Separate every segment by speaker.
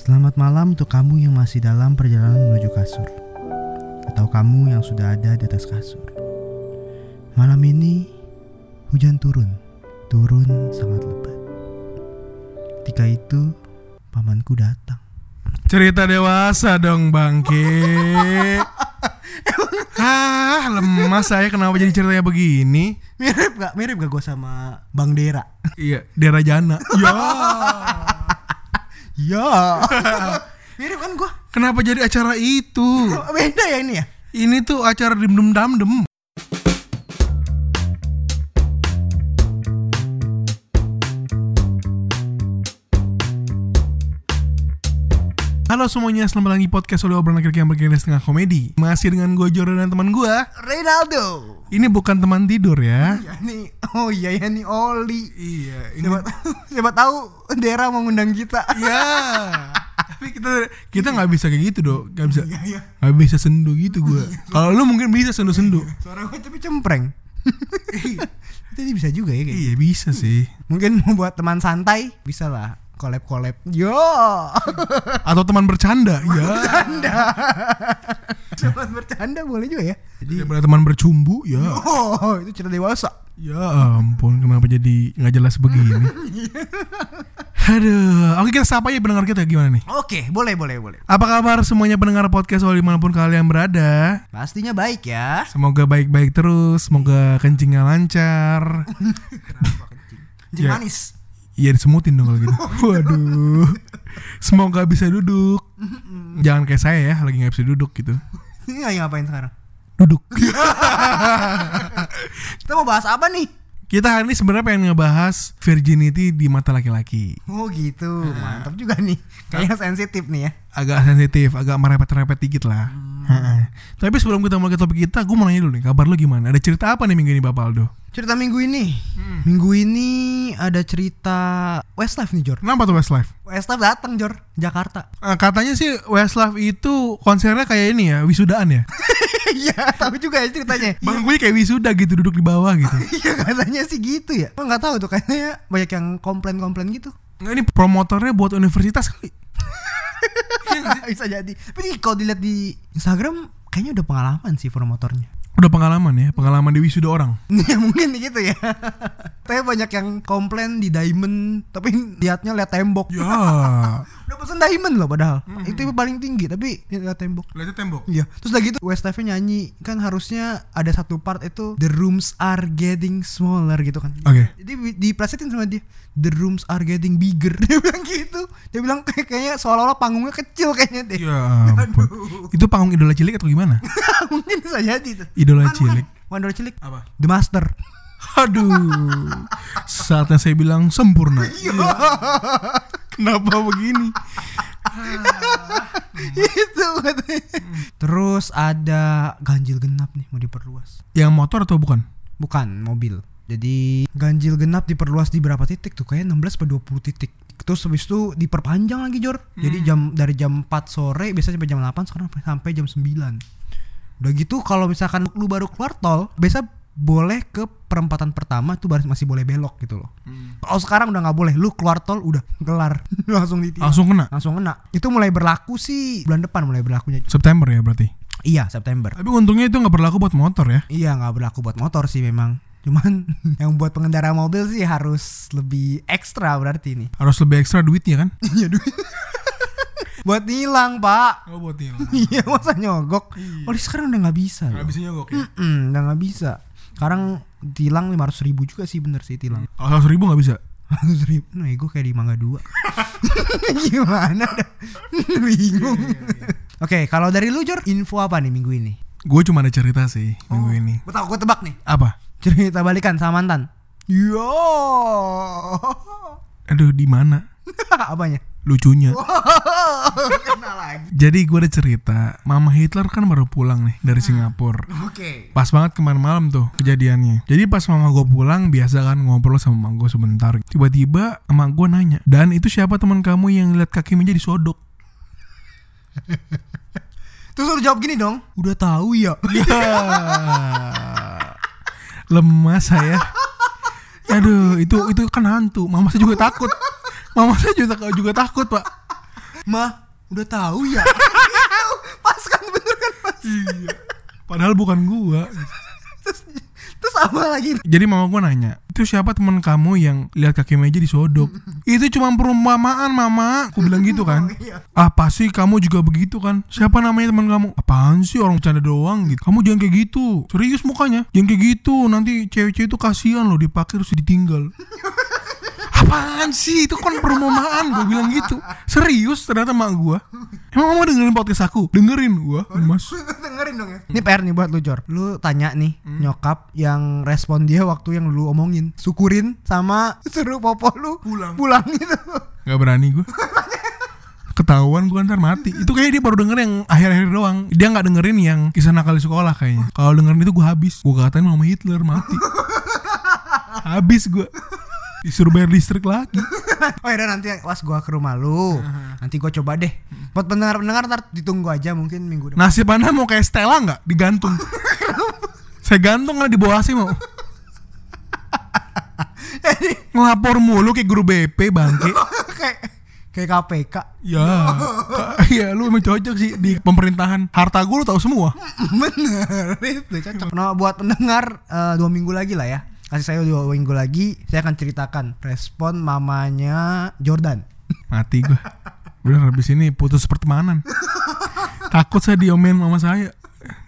Speaker 1: Selamat malam untuk kamu yang masih dalam perjalanan menuju kasur, atau kamu yang sudah ada di atas kasur. Malam ini hujan turun, turun sangat lebat. Ketika itu, pamanku datang.
Speaker 2: Cerita dewasa dong bangke. Hah, Ah, lemas saya kenapa jadi ceritanya begini?
Speaker 1: Mirip gak? Mirip gak gue sama Bang Dera?
Speaker 2: Iya, daerah Jana. Ya.
Speaker 1: Ya. Mirip kan gue?
Speaker 2: Kenapa jadi acara itu?
Speaker 1: Beda ya ini ya?
Speaker 2: Ini tuh acara dim dum dam dem. Halo semuanya, selamat lagi podcast oleh obrolan laki-laki yang bergenre setengah komedi Masih dengan gue Jordan dan teman gue
Speaker 1: Ronaldo.
Speaker 2: Ini bukan teman tidur ya
Speaker 1: Ya nih, oh iya ya nih Oli.
Speaker 2: Iya, ini
Speaker 1: Siapa, siapa tahu Dera mau ngundang kita.
Speaker 2: Iya Tapi kita kita nggak bisa kayak gitu dok Gak bisa
Speaker 1: Iya iya.
Speaker 2: nggak bisa sendu gitu gue Kalau lu mungkin bisa sendu-sendu
Speaker 1: Suara gue tapi cempreng. Jadi bisa juga ya kayak.
Speaker 2: Iya bisa sih
Speaker 1: Mungkin mau buat teman santai bisa lah collab collab. Yo.
Speaker 2: Atau teman bercanda Ya
Speaker 1: Cuman bercanda boleh juga ya.
Speaker 2: Daripada teman bercumbu Ya
Speaker 1: Oh, itu cerita dewasa.
Speaker 2: Ya ampun kenapa jadi nggak jelas begini Aduh Oke kita sapa ya pendengar kita gimana nih
Speaker 1: Oke, boleh boleh boleh.
Speaker 2: Apa kabar semuanya pendengar podcast Walau dimanapun kalian berada
Speaker 1: Pastinya baik ya.
Speaker 2: Semoga baik-baik terus, semoga kencingnya lancar.
Speaker 1: Jadi
Speaker 2: Ya.
Speaker 1: manis.
Speaker 2: Iya disemutin dong kalau gitu. Waduh. Semoga bisa duduk. Jangan kayak saya ya, lagi nggak bisa duduk gitu.
Speaker 1: Ini lagi ngapain sekarang?
Speaker 2: Duduk.
Speaker 1: Kita mau bahas apa nih?
Speaker 2: Kita hari ini sebenarnya pengen ngebahas virginity di mata laki-laki.
Speaker 1: Oh gitu,
Speaker 2: Hmm.
Speaker 1: mantap juga nih. Kayaknya sensitif nih ya.
Speaker 2: Agak sensitif, agak merepet-repet dikit lah. Heeh. Tapi sebelum kita mulai ke topik kita, gue mau nanya dulu nih, kabar lu gimana? Ada cerita apa nih minggu ini Bapak Aldo?
Speaker 1: Cerita minggu ini.
Speaker 2: Hmm.
Speaker 1: Minggu ini ada cerita Westlife nih, Jor.
Speaker 2: Kenapa tuh Westlife?
Speaker 1: Westlife datang, Jor, Jakarta.
Speaker 2: Eh, katanya sih Westlife itu konsernya kayak ini ya, wisudaan ya?
Speaker 1: Iya, tahu juga ya ceritanya.
Speaker 2: Bang gue kayak wisuda gitu duduk di bawah gitu.
Speaker 1: Iya, katanya sih gitu ya. Emang nggak tahu tuh kayaknya banyak yang komplain-komplain gitu.
Speaker 2: Nggak, ini promotornya buat universitas kali.
Speaker 1: Bisa jadi. Tapi kalau dilihat di Instagram kayaknya udah pengalaman sih promotornya.
Speaker 2: Udah pengalaman ya, pengalaman di wisuda orang.
Speaker 1: Ya mungkin gitu ya. Tapi banyak yang komplain di Diamond, tapi liatnya liat tembok.
Speaker 2: Ya.
Speaker 1: Udah pesen Diamond loh padahal. Itu paling tinggi, tapi liat tembok.
Speaker 2: Lihatnya tembok.
Speaker 1: Iya. Terus udah gitu Westlife nyanyi kan harusnya ada satu part itu the rooms are getting smaller gitu kan.
Speaker 2: Oke.
Speaker 1: Jadi di- diplesetin sama dia the rooms are getting bigger dia bilang gitu. Dia bilang kayak kayaknya seolah-olah panggungnya kecil kayaknya deh.
Speaker 2: Ya ampun. Itu panggung idola cilik atau gimana?
Speaker 1: Mungkin bisa jadi tuh.
Speaker 2: Idola
Speaker 1: Bukan, bukan.
Speaker 2: Iya, cilik.
Speaker 1: Bukan idola cilik.
Speaker 2: Apa?
Speaker 1: The Master.
Speaker 2: Aduh. Saatnya saya bilang sempurna. Iya. Kenapa begini? Hmm.
Speaker 1: itu Gitu katanya. Terus ada ganjil genap nih mau diperluas.
Speaker 2: Yang motor atau bukan?
Speaker 1: Bukan mobil. Jadi ganjil genap diperluas di berapa titik tuh? Kayaknya 16 atau 20 titik. Terus habis itu diperpanjang lagi, Jor. Jadi jam dari jam 4 sore biasanya sampai jam 8 sekarang sampai jam 9. Udah gitu kalau misalkan lu baru keluar tol, biasa boleh ke perempatan pertama itu baru- masih boleh belok gitu loh.
Speaker 2: Hmm.
Speaker 1: Kalau sekarang udah nggak boleh, lu keluar tol udah kelar, langsung ditilang.
Speaker 2: Langsung kena.
Speaker 1: Langsung kena. Itu mulai berlaku sih bulan depan mulai berlakunya.
Speaker 2: September ya berarti.
Speaker 1: Iya, September.
Speaker 2: Tapi untungnya itu nggak berlaku buat motor ya.
Speaker 1: Iya nggak berlaku buat motor sih memang. Cuman yang buat pengendara mobil sih harus lebih ekstra berarti ini.
Speaker 2: Harus lebih ekstra duitnya kan?
Speaker 1: Buat nilang pak.
Speaker 2: Oh buat
Speaker 1: Iya masa nyogok. Oh sekarang udah nggak bisa. loh.
Speaker 2: Iya. bisa nyogok ya.
Speaker 1: Mm, udah nggak bisa. Sekarang tilang 500 ribu juga sih bener sih tilang.
Speaker 2: Kalau seratus ribu nggak bisa.
Speaker 1: 500 ribu. Nah gue kayak di Mangga 2. Gimana dah. Bingung.
Speaker 2: Iya,
Speaker 1: Oke kalau dari lu Jor info apa nih minggu ini?
Speaker 2: Gue cuma ada cerita sih minggu ini.
Speaker 1: Gue tau gue tebak nih.
Speaker 2: Apa?
Speaker 1: Cerita balikan sama mantan. Yo.
Speaker 2: Aduh di mana?
Speaker 1: Apanya?
Speaker 2: Lucunya.
Speaker 1: Kenal lagi.
Speaker 2: Jadi gue ada cerita, Mama Hitler kan baru pulang nih
Speaker 1: Hmm.
Speaker 2: dari Singapura.
Speaker 1: Oke.
Speaker 2: Pas banget kemarin malam tuh kejadiannya. Jadi pas mama gue pulang biasa kan ngobrol sama mama gue sebentar. Tiba-tiba mama gue nanya, dan itu siapa teman kamu yang lihat kaki meja disodok?
Speaker 1: Terus lu jawab gini dong. Udah tahu ya.
Speaker 2: Iya. Lemas saya. Aduh, itu itu kan hantu. Mama saya juga takut. Mama saya juga, juga takut pak.
Speaker 1: mah udah tahu ya pas kan bener kan pas
Speaker 2: iya. Padahal bukan gua.
Speaker 1: terus, terus apa lagi
Speaker 2: Jadi mama gua nanya, itu siapa teman kamu yang lihat kaki meja disodok? itu cuma perumpamaan mama. Aku bilang gitu kan.
Speaker 1: Iya.
Speaker 2: Ah pasti kamu juga begitu kan? Siapa namanya teman kamu? Apaan sih orang bercanda doang gitu? Kamu jangan kayak gitu. Serius mukanya? Jangan kayak gitu. Nanti cewek-cewek itu kasihan loh dipakai terus ditinggal. Apaan sih? Itu kan perumpamaan Gua bilang gitu. Serius ternyata mak gua. Emang mama dengerin podcast aku? Dengerin gua. Mas.
Speaker 1: dengerin dong ya Hmm. ini PR nih buat lu Jor lu tanya nih nyokap yang respon dia waktu yang lu omongin syukurin sama suruh popo lu
Speaker 2: Pulang.
Speaker 1: pulang gitu
Speaker 2: Gak berani gue Ketahuan gue ntar mati Itu kayaknya dia baru denger yang akhir-akhir doang Dia gak dengerin yang kisah nakal di sekolah kayaknya Kalau dengerin itu gue habis Gue katain mama Hitler mati Habis gue Disuruh bayar listrik lagi
Speaker 1: oh ya nanti pas gua ke rumah lu nanti gua coba deh buat pendengar-pendengar ntar ditunggu aja mungkin minggu depan
Speaker 2: Nasib anda mau kayak Stella gak? Digantung Saya gantung lah di bawah sih mau Ngelapor mulu kayak guru BP bangke
Speaker 1: kayak kayak KPK
Speaker 2: Ya Ya lu emang cocok sih di pemerintahan Harta gue lu tau semua
Speaker 1: bener itu cocok nah buat pendengar eh, dua minggu lagi lah ya kasih saya dua minggu lagi saya akan ceritakan respon mamanya Jordan
Speaker 2: mati gue bener habis ini putus pertemanan takut saya diomelin mama saya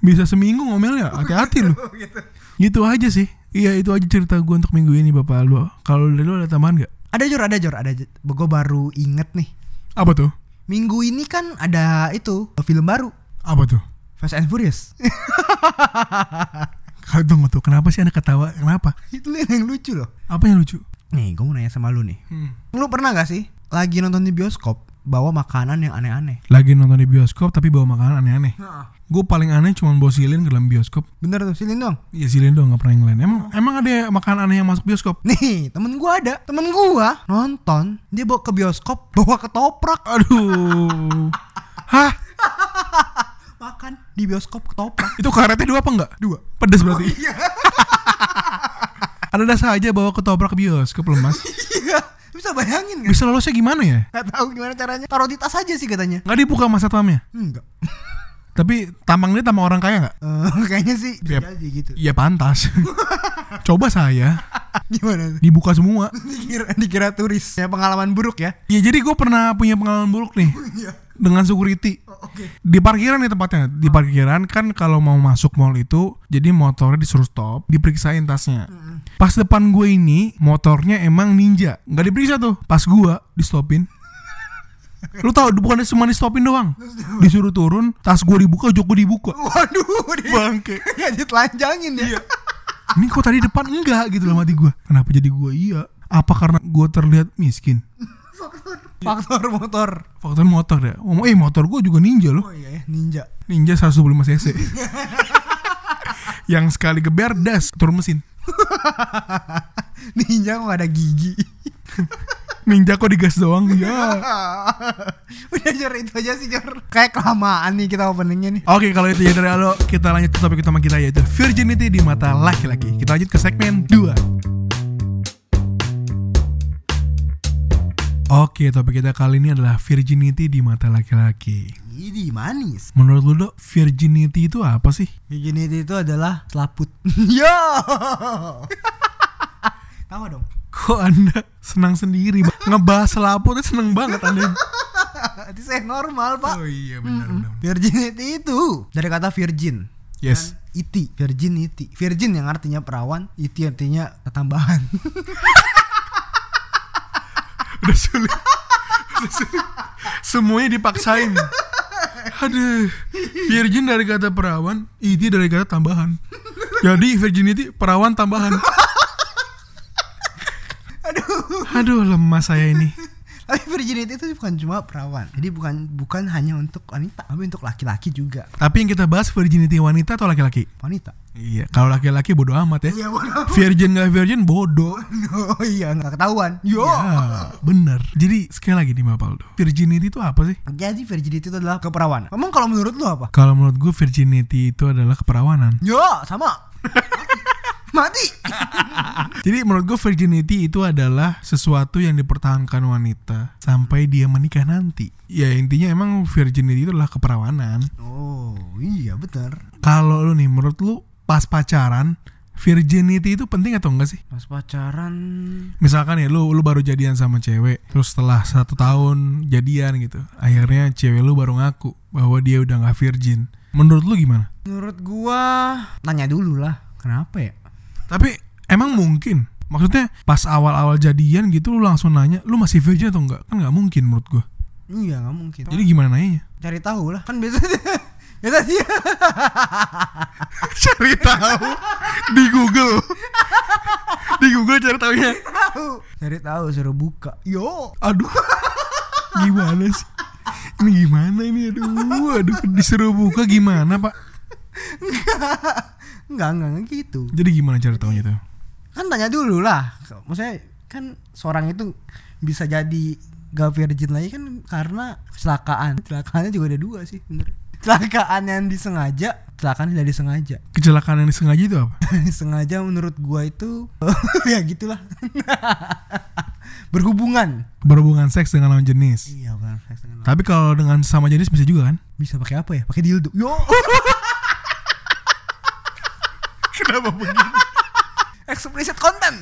Speaker 2: bisa seminggu ngomelnya hati-hati lu gitu aja sih iya itu aja cerita gue untuk minggu ini bapak lu kalau dari lu ada tambahan nggak
Speaker 1: ada Jor ada Jor ada gue baru inget nih
Speaker 2: apa tuh
Speaker 1: minggu ini kan ada itu film baru
Speaker 2: apa tuh
Speaker 1: Fast and Furious
Speaker 2: Kau tunggu tuh kenapa sih anda ketawa kenapa
Speaker 1: itu yang lucu loh
Speaker 2: apa yang lucu
Speaker 1: nih gue mau nanya sama lu nih lu pernah gak sih lagi nonton di bioskop bawa makanan yang aneh-aneh
Speaker 2: lagi nonton di bioskop tapi bawa makanan aneh-aneh gue paling aneh cuma bawa silin ke dalam bioskop
Speaker 1: bener tuh silin dong
Speaker 2: Iya silin doang gak pernah yang lain Emang, emang ada makanan aneh yang masuk bioskop?
Speaker 1: nih temen gua ada temen gua nonton dia bawa ke bioskop bawa ketoprak
Speaker 2: Aduh Hah?
Speaker 1: makan di bioskop ketoprak
Speaker 2: Itu karetnya dua apa enggak? Dua. Pedes berarti.
Speaker 1: Oh, iya.
Speaker 2: Ada dasar aja bawa ketoprak ke bioskop loh mas
Speaker 1: iya bisa bayangin kan
Speaker 2: Bisa lolosnya gimana ya?
Speaker 1: nggak tahu gimana caranya taruh di tas aja sih katanya
Speaker 2: Nggak dibuka mas satpamnya
Speaker 1: enggak
Speaker 2: Tapi tampang dia tampang orang kaya nggak?
Speaker 1: Eh, kayaknya sih bisa
Speaker 2: Yap.
Speaker 1: jadi gitu Ah,
Speaker 2: Iya pantas Coba saya
Speaker 1: gimana tuh?
Speaker 2: Dibuka semua
Speaker 1: dikira dikira turis ya pengalaman buruk ya
Speaker 2: Ya jadi gue pernah punya pengalaman buruk nih
Speaker 1: iya
Speaker 2: Dengan security
Speaker 1: oke
Speaker 2: di parkiran nih tempatnya di parkiran kan kalau mau masuk mall itu jadi motornya disuruh stop diperiksain tasnya pas depan gue ini motornya emang ninja nggak diperiksa tuh pas gue di stopin lu tahu bukan cuma di stopin doang disuruh turun tas gue dibuka jok gue dibuka
Speaker 1: waduh dia
Speaker 2: bangke
Speaker 1: ya ditelanjangin ya
Speaker 2: ini kok tadi depan enggak gitu dalam hati gue kenapa jadi gue iya apa karena gue terlihat miskin
Speaker 1: faktor motor
Speaker 2: faktor motor ya ngomong eh motor gue juga ninja loh
Speaker 1: oh iya ya, ninja
Speaker 2: Ninja 125 cc yang sekali geber das turun mesin
Speaker 1: ninja kok nggak ada gigi
Speaker 2: Ninja kok digas doang ya
Speaker 1: udah jor itu aja sih jor kayak kelamaan nih kita openingnya nih
Speaker 2: Oke kalau itu ya dari Alo Kita lanjut ke topik utama kita yaitu Virginity di mata laki-laki Kita lanjut ke segmen 2 Oke topik kita kali ini adalah Virginity di mata laki-laki
Speaker 1: ini manis
Speaker 2: Menurut lu Dok, virginity itu apa sih?
Speaker 1: Virginity itu adalah selaput. Yo. Tahu dong.
Speaker 2: Kok anda senang sendiri? Bang? Ngebahas selaputnya seneng banget anda
Speaker 1: Itu saya normal, Pak.
Speaker 2: iya benar
Speaker 1: Virginity itu dari kata virgin. Kan,
Speaker 2: Yes
Speaker 1: Iti, virginity. Virgin yang artinya perawan, iti artinya ketambahan.
Speaker 2: udah sulit Udah sulit. semuanya dipaksain aduh virgin dari kata perawan iti dari kata tambahan jadi virginity perawan tambahan
Speaker 1: Aduh.
Speaker 2: aduh lemas saya ini
Speaker 1: Tapi virginity itu bukan cuma perawan. Jadi bukan bukan hanya untuk wanita, tapi untuk laki-laki juga.
Speaker 2: tapi yang kita bahas virginity wanita atau laki-laki
Speaker 1: Wanita.
Speaker 2: iya kalau laki-laki bodoh amat ya
Speaker 1: bodoh.
Speaker 2: virgin nggak virgin bodoh
Speaker 1: Oh iya, nggak ketahuan. Yo.
Speaker 2: ya bener jadi sekali lagi nih Bapak Aldo virginity E itu apa sih
Speaker 1: Jadi virginity itu adalah keperawanan. Emang kalau menurut lu apa?
Speaker 2: E kalau menurut gue virginity itu adalah keperawanan
Speaker 1: Yo, sama. mati
Speaker 2: Jadi menurut gue virginity itu adalah sesuatu yang dipertahankan wanita sampai dia menikah nanti. Ya intinya emang virginity itu adalah keperawanan.
Speaker 1: oh iya bener
Speaker 2: Kalau lu nih menurut lu pas pacaran virginity itu penting atau enggak sih?
Speaker 1: pas pacaran
Speaker 2: Misalkan ya lu lu baru jadian sama cewek, terus setelah satu tahun jadian gitu, akhirnya cewek lu baru ngaku bahwa dia udah nggak virgin. Menurut lu gimana?
Speaker 1: menurut gua nanya dulu lah kenapa ya
Speaker 2: Tapi emang mungkin? Maksudnya pas awal-awal jadian gitu lu langsung nanya lu masih virgin atau enggak? Kan nggak mungkin menurut gua.
Speaker 1: iya nggak mungkin
Speaker 2: Jadi gimana nanyanya?
Speaker 1: cari tahu lah kan biasanya biasanya dia
Speaker 2: cari tahu di Google. di Google cari tahunya.
Speaker 1: tahu cari tahu suruh buka yo
Speaker 2: Aduh. Gimana sih? Ini gimana ini aduh, aduh disuruh buka gimana, Pak?
Speaker 1: nggak nggak nggak gitu
Speaker 2: Jadi gimana cari tahunya tuh?
Speaker 1: kan tanya dulu lah maksudnya kan seorang itu bisa jadi gak virgin lagi kan karena kecelakaan celakaannya juga ada dua sih bener kecelakaan yang disengaja kecelakaan tidak disengaja
Speaker 2: Kecelakaan yang disengaja itu apa?
Speaker 1: sengaja menurut gua itu ya gitulah berhubungan
Speaker 2: Berhubungan seks dengan lawan jenis.
Speaker 1: iya benar
Speaker 2: Tapi kalau dengan sama jenis bisa juga kan?
Speaker 1: bisa pakai apa ya pakai dildo yo
Speaker 2: Kenapa begitu?
Speaker 1: explicit konten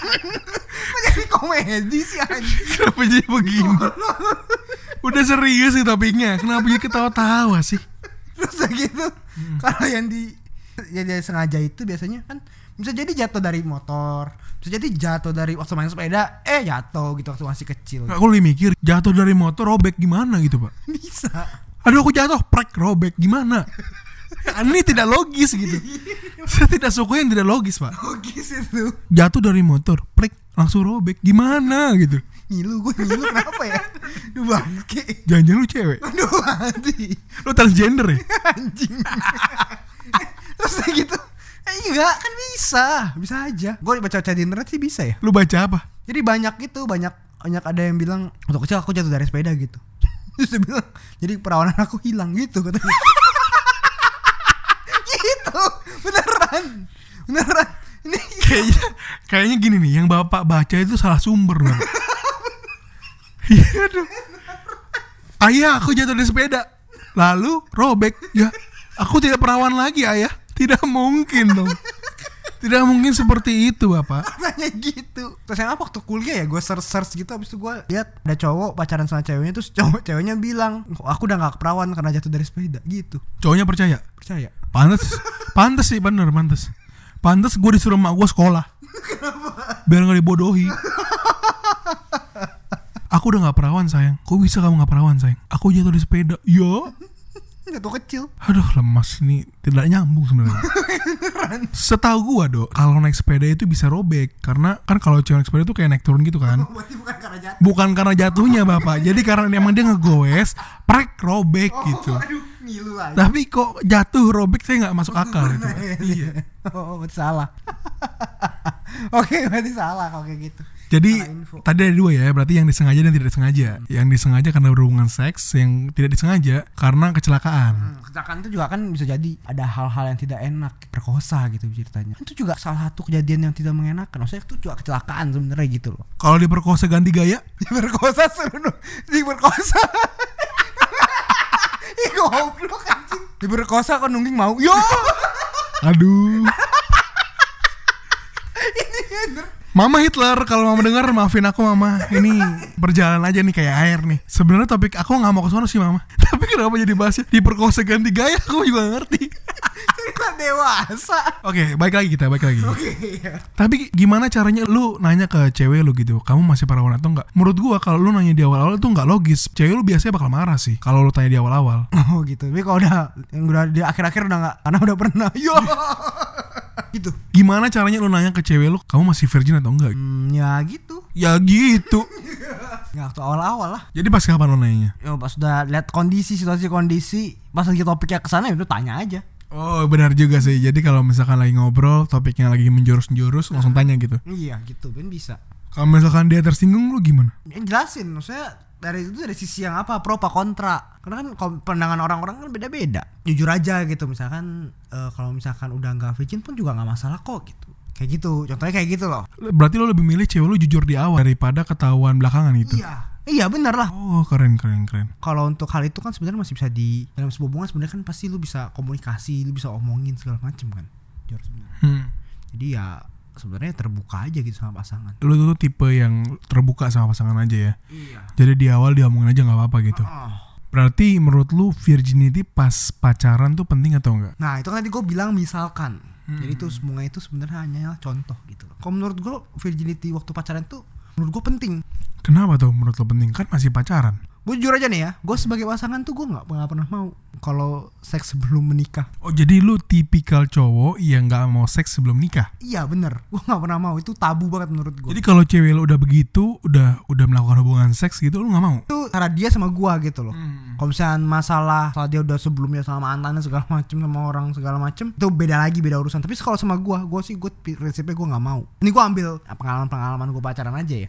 Speaker 1: menjadi komedi sih anjing
Speaker 2: Kenapa jadi begini? Udah serius sih topiknya. Kenapa jadi ketawa-tawa sih?
Speaker 1: terus udah gitu kalau yang di yang dia sengaja itu biasanya kan bisa jadi jatuh dari motor bisa jadi jatuh dari waktu main sepeda eh jatuh gitu waktu masih kecil
Speaker 2: Nggak, Aku lebih mikir jatuh dari motor robek gimana gitu, Pak.
Speaker 1: bisa
Speaker 2: Aduh aku jatuh, prek robek gimana? Ini tidak logis gitu. Saya tidak suka yang tidak logis, Pak.
Speaker 1: logis itu
Speaker 2: Jatuh dari motor, prek langsung robek gimana gitu.
Speaker 1: ngilu gue ngilu kenapa ya duh bangke
Speaker 2: Jangan-jangan lu cewek.
Speaker 1: aduh mati
Speaker 2: Lu transgender ya?
Speaker 1: anjing terus udah gitu eh, enggak kan bisa bisa aja gue baca baca di internet sih bisa ya
Speaker 2: Lu baca apa?
Speaker 1: Jadi banyak itu banyak banyak ada yang bilang waktu kecil aku jatuh dari sepeda gitu. Terus dia bilang jadi perawanan aku hilang gitu katanya. gitu beneran beneran ini
Speaker 2: Kayaknya kayaknya gini nih, yang Bapak baca itu salah sumber, Bang. Iya, aduh. Ayah, aku jatuh dari sepeda. Lalu robek. Ya, aku tidak perawan lagi, Ayah. Tidak mungkin dong. Tidak mungkin seperti itu, Bapak.
Speaker 1: katanya gitu. Terus yang apa waktu kuliah ya gue search search gitu abis itu gue lihat ada cowok pacaran sama ceweknya terus cowok ceweknya bilang aku udah gak perawan karena jatuh dari sepeda gitu.
Speaker 2: Cowoknya percaya.
Speaker 1: Percaya?
Speaker 2: Pantes Pantes sih bener pantes Pantes gue disuruh emak gue sekolah Biar gak dibodohi Aku udah gak perawan sayang Kok bisa kamu gak perawan sayang Aku jatuh di sepeda Ya
Speaker 1: Jatuh kecil.
Speaker 2: Aduh lemas nih Tidak nyambung sebenarnya. Setahu gua dok Kalau naik sepeda itu bisa robek Karena kan kalau cewek naik sepeda itu kayak naik turun gitu
Speaker 1: Oh,
Speaker 2: kan
Speaker 1: Berarti bukan karena jatuh.
Speaker 2: Bukan karena jatuhnya bapak Jadi karena emang dia ngegoes Prek robek gitu
Speaker 1: Oh, Aduh ngilu lagi.
Speaker 2: Tapi kok jatuh robek saya nggak masuk akal gitu. itu. Pak.
Speaker 1: iya. Oh, berarti salah. Oke, berarti salah kalau kayak gitu.
Speaker 2: Jadi
Speaker 1: Salah info. Hmm.
Speaker 2: tadi ada dua ya, berarti yang disengaja dan tidak disengaja. Yang disengaja karena berhubungan seks, yang tidak disengaja karena kecelakaan.
Speaker 1: Kecelakaan itu juga kan bisa jadi ada hal-hal yang tidak enak, perkosa gitu ceritanya. Itu juga salah satu kejadian yang tidak mengenakan. Maksudnya itu juga kecelakaan sebenarnya gitu loh.
Speaker 2: Kalau diperkosa ganti gaya,
Speaker 1: Diperkosa seru, diperkosa. Ih goblok anjing. Diperkosa kan nungging mau. Yo,
Speaker 2: aduh.
Speaker 1: ini bener.
Speaker 2: Mama Hitler, kalau mama dengar maafin aku mama. Ini berjalan aja nih kayak air nih. Sebenarnya topik aku nggak mau ke sono sih mama. Tapi kenapa jadi bahasnya diperkosa ganti gaya? Aku juga nggak ngerti.
Speaker 1: Cerita dewasa.
Speaker 2: Oke, baik lagi kita, baik lagi.
Speaker 1: Iya.
Speaker 2: Tapi gimana caranya lu nanya ke cewek lu gitu, kamu masih perawan atau enggak? Menurut gua kalau lu nanya di awal-awal itu enggak logis. Cewek lu biasanya bakal marah sih kalau lu tanya di awal-awal.
Speaker 1: Oh gitu. Tapi kalau udah yang udah di akhir-akhir udah nggak karena udah pernah. Yo. gitu.
Speaker 2: Gimana caranya lu nanya ke cewek lu, kamu masih virgin atau enggak?
Speaker 1: Hmm, ya gitu.
Speaker 2: Ya gitu.
Speaker 1: Ya waktu awal-awal lah.
Speaker 2: Jadi pas kapan lu nanyanya?
Speaker 1: Ya pas udah lihat kondisi situasi kondisi pas lagi topiknya ke sana ya udah tanya aja.
Speaker 2: Oh benar juga sih. Jadi kalau misalkan lagi ngobrol, topiknya lagi menjurus-jurus, langsung tanya gitu.
Speaker 1: Iya gitu, ben bisa.
Speaker 2: Kalau misalkan dia tersinggung, lu gimana?
Speaker 1: Ya, jelasin maksudnya dari itu dari sisi yang apa pro apa kontra karena kan kom- pandangan orang-orang kan beda-beda jujur aja gitu misalkan eh, kalau misalkan udah nggak virgin pun juga nggak masalah kok gitu kayak gitu contohnya kayak gitu loh
Speaker 2: Berarti lo lebih milih cewek lo jujur di awal daripada ketahuan belakangan gitu.
Speaker 1: iya iya bener lah
Speaker 2: Oh, keren keren keren.
Speaker 1: kalau untuk hal itu kan sebenarnya masih bisa di dalam sebuah hubungan sebenarnya kan pasti lu bisa komunikasi lu bisa omongin segala macem kan Jor, sebenarnya.
Speaker 2: Hmm.
Speaker 1: jadi ya sebenarnya terbuka aja gitu sama pasangan
Speaker 2: Lo tuh tipe yang terbuka sama pasangan aja ya.
Speaker 1: iya
Speaker 2: Jadi di awal diomongin aja nggak apa-apa gitu.
Speaker 1: Oh.
Speaker 2: Berarti menurut lu virginity pas pacaran tuh penting atau enggak?
Speaker 1: Nah itu kan tadi gue bilang misalkan Jadi itu semua itu sebenarnya hanya contoh gitu loh Kalau menurut gue virginity waktu pacaran tuh menurut gue penting
Speaker 2: Kenapa tuh menurut lo penting? Kan masih pacaran.
Speaker 1: Gue jujur aja nih ya Gue sebagai pasangan tuh gue gak, nggak pernah mau Kalau seks sebelum menikah
Speaker 2: Oh jadi lu tipikal cowok yang nggak mau seks sebelum nikah.
Speaker 1: Iya bener Gue gak pernah mau Itu tabu banget menurut gue
Speaker 2: Jadi kalau cewek lu udah begitu, udah udah melakukan hubungan seks gitu, lu nggak mau?
Speaker 1: itu cara dia sama gua gitu loh. Kalau misalnya masalah saat dia udah sebelumnya sama mantannya segala macem sama orang segala macem itu beda lagi beda urusan. Tapi kalau sama gua, gua sih gua pi- prinsipnya gua nggak mau. Ini gua ambil pengalaman-pengalaman gua pacaran aja ya.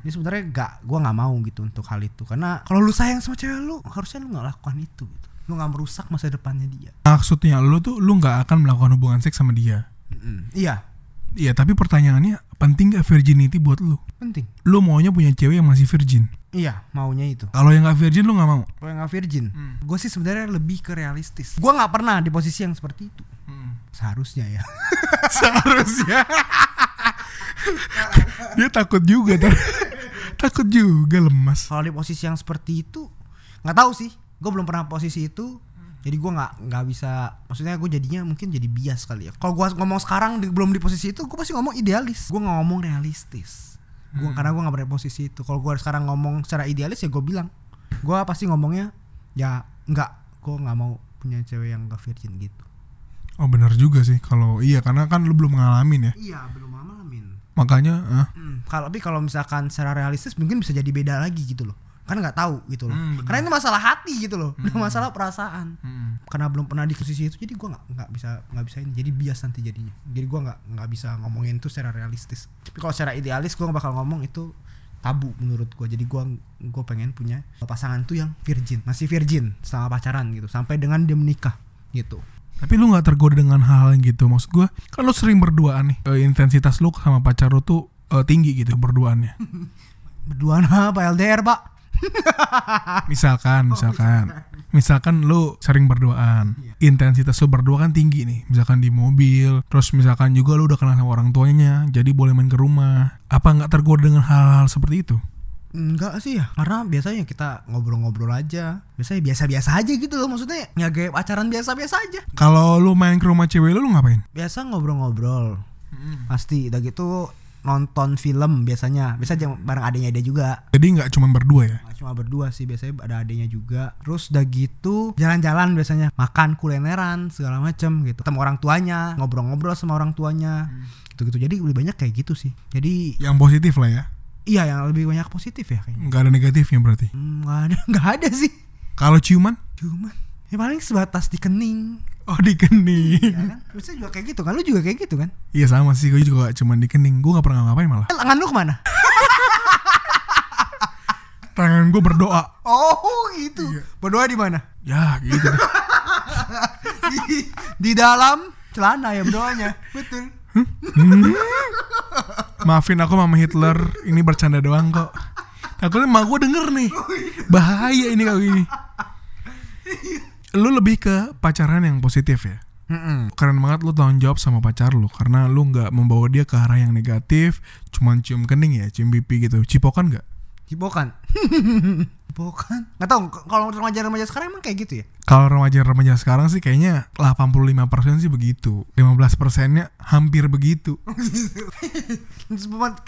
Speaker 1: Ini sebenarnya gak gua nggak mau gitu untuk hal itu karena kalau lu sayang sama cewek lu harusnya lu nggak lakukan itu gitu. Lu nggak merusak masa depannya dia.
Speaker 2: Maksudnya lu tuh lu nggak akan melakukan hubungan seks sama dia.
Speaker 1: Mm-mm. Iya,
Speaker 2: Iya tapi pertanyaannya penting gak virginity buat lu?
Speaker 1: penting.
Speaker 2: Lu maunya punya cewek yang masih virgin.
Speaker 1: Iya, maunya itu.
Speaker 2: Kalau yang nggak virgin lu nggak mau.
Speaker 1: Kalau yang nggak virgin, gua sih sebenarnya lebih ke realistis. Gua nggak pernah di posisi yang seperti itu. Seharusnya ya.
Speaker 2: Seharusnya. dia takut juga, tar- takut juga lemas.
Speaker 1: kalau di posisi yang seperti itu nggak tahu sih gue belum pernah posisi itu jadi gue nggak nggak bisa maksudnya gue jadinya mungkin jadi bias kali ya kalau gue ngomong sekarang di- belum di posisi itu gue pasti ngomong idealis gue nggak ngomong realistis gua, karena gue nggak pernah di posisi itu kalau gue sekarang ngomong secara idealis ya gue bilang gue pasti ngomongnya ya nggak gue nggak mau punya cewek yang gak virgin gitu
Speaker 2: Oh benar juga sih kalau iya karena kan lu belum ngalamin ya.
Speaker 1: iya belum ngalamin
Speaker 2: Makanya ah.
Speaker 1: Hmm, kalau tapi kalau misalkan secara realistis mungkin bisa jadi beda lagi gitu loh. Kan nggak tahu gitu loh.
Speaker 2: Hmm, bener.
Speaker 1: Karena ini masalah hati gitu loh, bukan masalah perasaan. Karena belum pernah di posisi itu jadi gua nggak nggak bisa nggak bisa ini. Jadi bias nanti jadinya. Jadi gua nggak nggak bisa ngomongin itu secara realistis. Tapi kalau secara idealis gua bakal ngomong itu tabu menurut gua. Jadi gua gua pengen punya pasangan tuh yang virgin, masih virgin selama pacaran gitu sampai dengan dia menikah gitu.
Speaker 2: Tapi lu nggak tergoda dengan hal-hal yang gitu maksud gua. Kan lu sering berduaan nih. Eh, intensitas lu sama pacar lu tuh eh, tinggi gitu berduaannya.
Speaker 1: Berduaan apa LDR, Pak?
Speaker 2: Misalkan, misalkan. Misalkan lu sering berduaan. Intensitas lu berdua kan tinggi nih. Misalkan di mobil, terus misalkan juga lu udah kenal sama orang tuanya, jadi boleh main ke rumah. Apa nggak tergoda dengan hal-hal seperti itu?
Speaker 1: Enggak sih ya, karena biasanya kita ngobrol-ngobrol aja. Biasanya biasa-biasa aja gitu loh, maksudnya ya kayak pacaran biasa-biasa aja.
Speaker 2: Kalau lu main ke rumah cewek lu, lu ngapain?
Speaker 1: Biasa ngobrol-ngobrol. Pasti udah gitu nonton film biasanya. Biasa aja bareng adanya ada juga.
Speaker 2: Jadi nggak cuma berdua ya.
Speaker 1: Nggak cuma berdua sih, biasanya ada adanya juga. Terus udah gitu jalan-jalan biasanya, makan kulineran segala macem gitu. Ketemu orang tuanya, ngobrol-ngobrol sama orang tuanya. Gitu-gitu. Jadi lebih banyak kayak gitu sih. Jadi
Speaker 2: Yang positif lah ya.
Speaker 1: iya yang lebih banyak positif ya kayaknya.
Speaker 2: Nggak ada negatifnya berarti.
Speaker 1: Hmm, nggak ada nggak ada sih.
Speaker 2: Kalau ciuman?
Speaker 1: Cuman ya paling sebatas di kening
Speaker 2: Oh di kening.
Speaker 1: ya kan? Biasanya juga kayak gitu kan Lu juga kayak gitu kan
Speaker 2: Iya sama sih, gue juga cuman di kening. Gue nggak pernah ngapain malah.
Speaker 1: Eh, Lengan lu kemana?
Speaker 2: Tangan gue berdoa.
Speaker 1: Oh gitu Berdoa di mana?
Speaker 2: Ya gitu.
Speaker 1: Di, di dalam celana ya berdoanya Betul
Speaker 2: Maafin aku mama Hitler, ini bercanda doang kok. Takutnya emak gue denger nih. Bahaya ini kalau ini. Lu lebih ke pacaran yang positif ya? Keren banget lu tanggung jawab sama pacar lu Karena lu nggak membawa dia ke arah yang negatif Cuman cium kening ya, cium pipi gitu Cipokan nggak?
Speaker 1: Cipokan Cipokan Gak tau k- kalau remaja-remaja sekarang emang kayak gitu ya
Speaker 2: Kalau remaja-remaja sekarang sih kayaknya 85% sih begitu 15% nya hampir begitu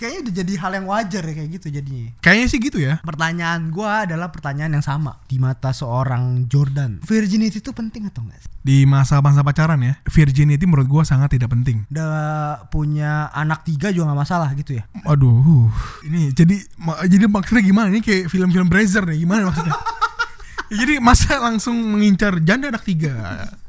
Speaker 1: Kayaknya udah jadi hal yang wajar ya kayak gitu jadinya
Speaker 2: Kayaknya sih gitu ya
Speaker 1: Pertanyaan gua adalah pertanyaan yang sama Di mata seorang Jordan Virginity itu penting atau enggak?
Speaker 2: Di masa-masa pacaran ya Virginity menurut gua sangat tidak penting
Speaker 1: Udah punya anak tiga juga gak masalah gitu ya
Speaker 2: Aduh Ini jadi ma- jadi maksudnya gimana? Ini kayak film-film Brazzers nih Gimana maksudnya? Ya, jadi masa langsung mengincar janda anak tiga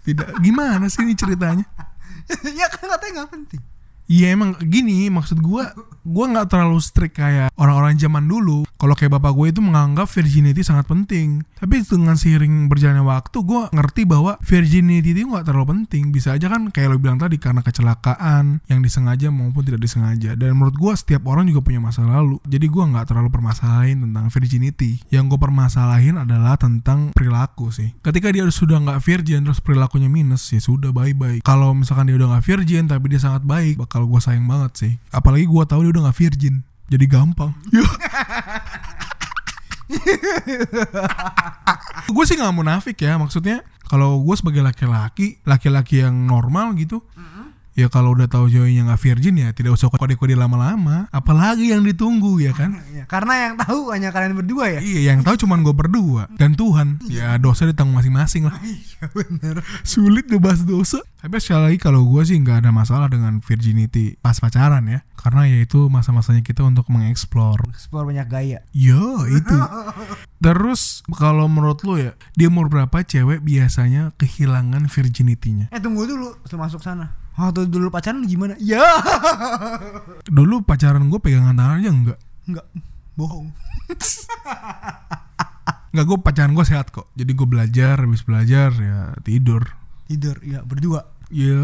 Speaker 2: Tidak Gimana sih ini ceritanya?
Speaker 1: ya kan katanya gak penting
Speaker 2: Iya emang gini maksud gua gua nggak terlalu strict kayak orang-orang zaman dulu. Kalau kayak bapak gue itu menganggap virginity sangat penting. Tapi dengan seiring berjalannya waktu gua ngerti bahwa virginity itu nggak terlalu penting. Bisa aja kan kayak lo bilang tadi karena kecelakaan yang disengaja maupun tidak disengaja. Dan menurut gua setiap orang juga punya masa lalu. Jadi gua nggak terlalu permasalahin tentang virginity. Yang gue permasalahin adalah tentang perilaku sih. Ketika dia sudah nggak virgin terus perilakunya minus ya sudah bye-bye. Kalau misalkan dia udah nggak virgin tapi dia sangat baik bakal gua sayang banget sih. Apalagi gua tahu dia udah nggak virgin. Jadi gampang. Ya, gue sih nggak munafik ya maksudnya kalau gue sebagai laki-laki laki-laki yang normal gitu ya kalau udah tahu ceweknya nggak virgin ya tidak usah kode-kode lama-lama apalagi yang ditunggu ya kan
Speaker 1: Ya, karena yang tahu hanya kalian berdua ya.
Speaker 2: Iya, yang tahu cuman gue berdua dan Tuhan. Ya dosa ditanggung masing-masing lah.
Speaker 1: Iya bener.
Speaker 2: Sulit ngebahas dosa. Tapi sekali lagi kalau gue sih nggak ada masalah dengan virginity pas pacaran ya, karena ya itu masa-masanya kita untuk mengeksplor.
Speaker 1: Explore banyak gaya.
Speaker 2: Yo itu. Terus kalau menurut lo ya, dia umur berapa cewek biasanya kehilangan virginity-nya?
Speaker 1: Eh tunggu dulu sebelum masuk sana. Waktu dulu pacaran gimana? Ya.
Speaker 2: Dulu pacaran gue pegangan tangan aja enggak.
Speaker 1: Enggak. Bohong.
Speaker 2: Enggak gue pacaran gue sehat kok. Jadi gue belajar, habis belajar ya tidur.
Speaker 1: Tidur ya berdua.
Speaker 2: Ya.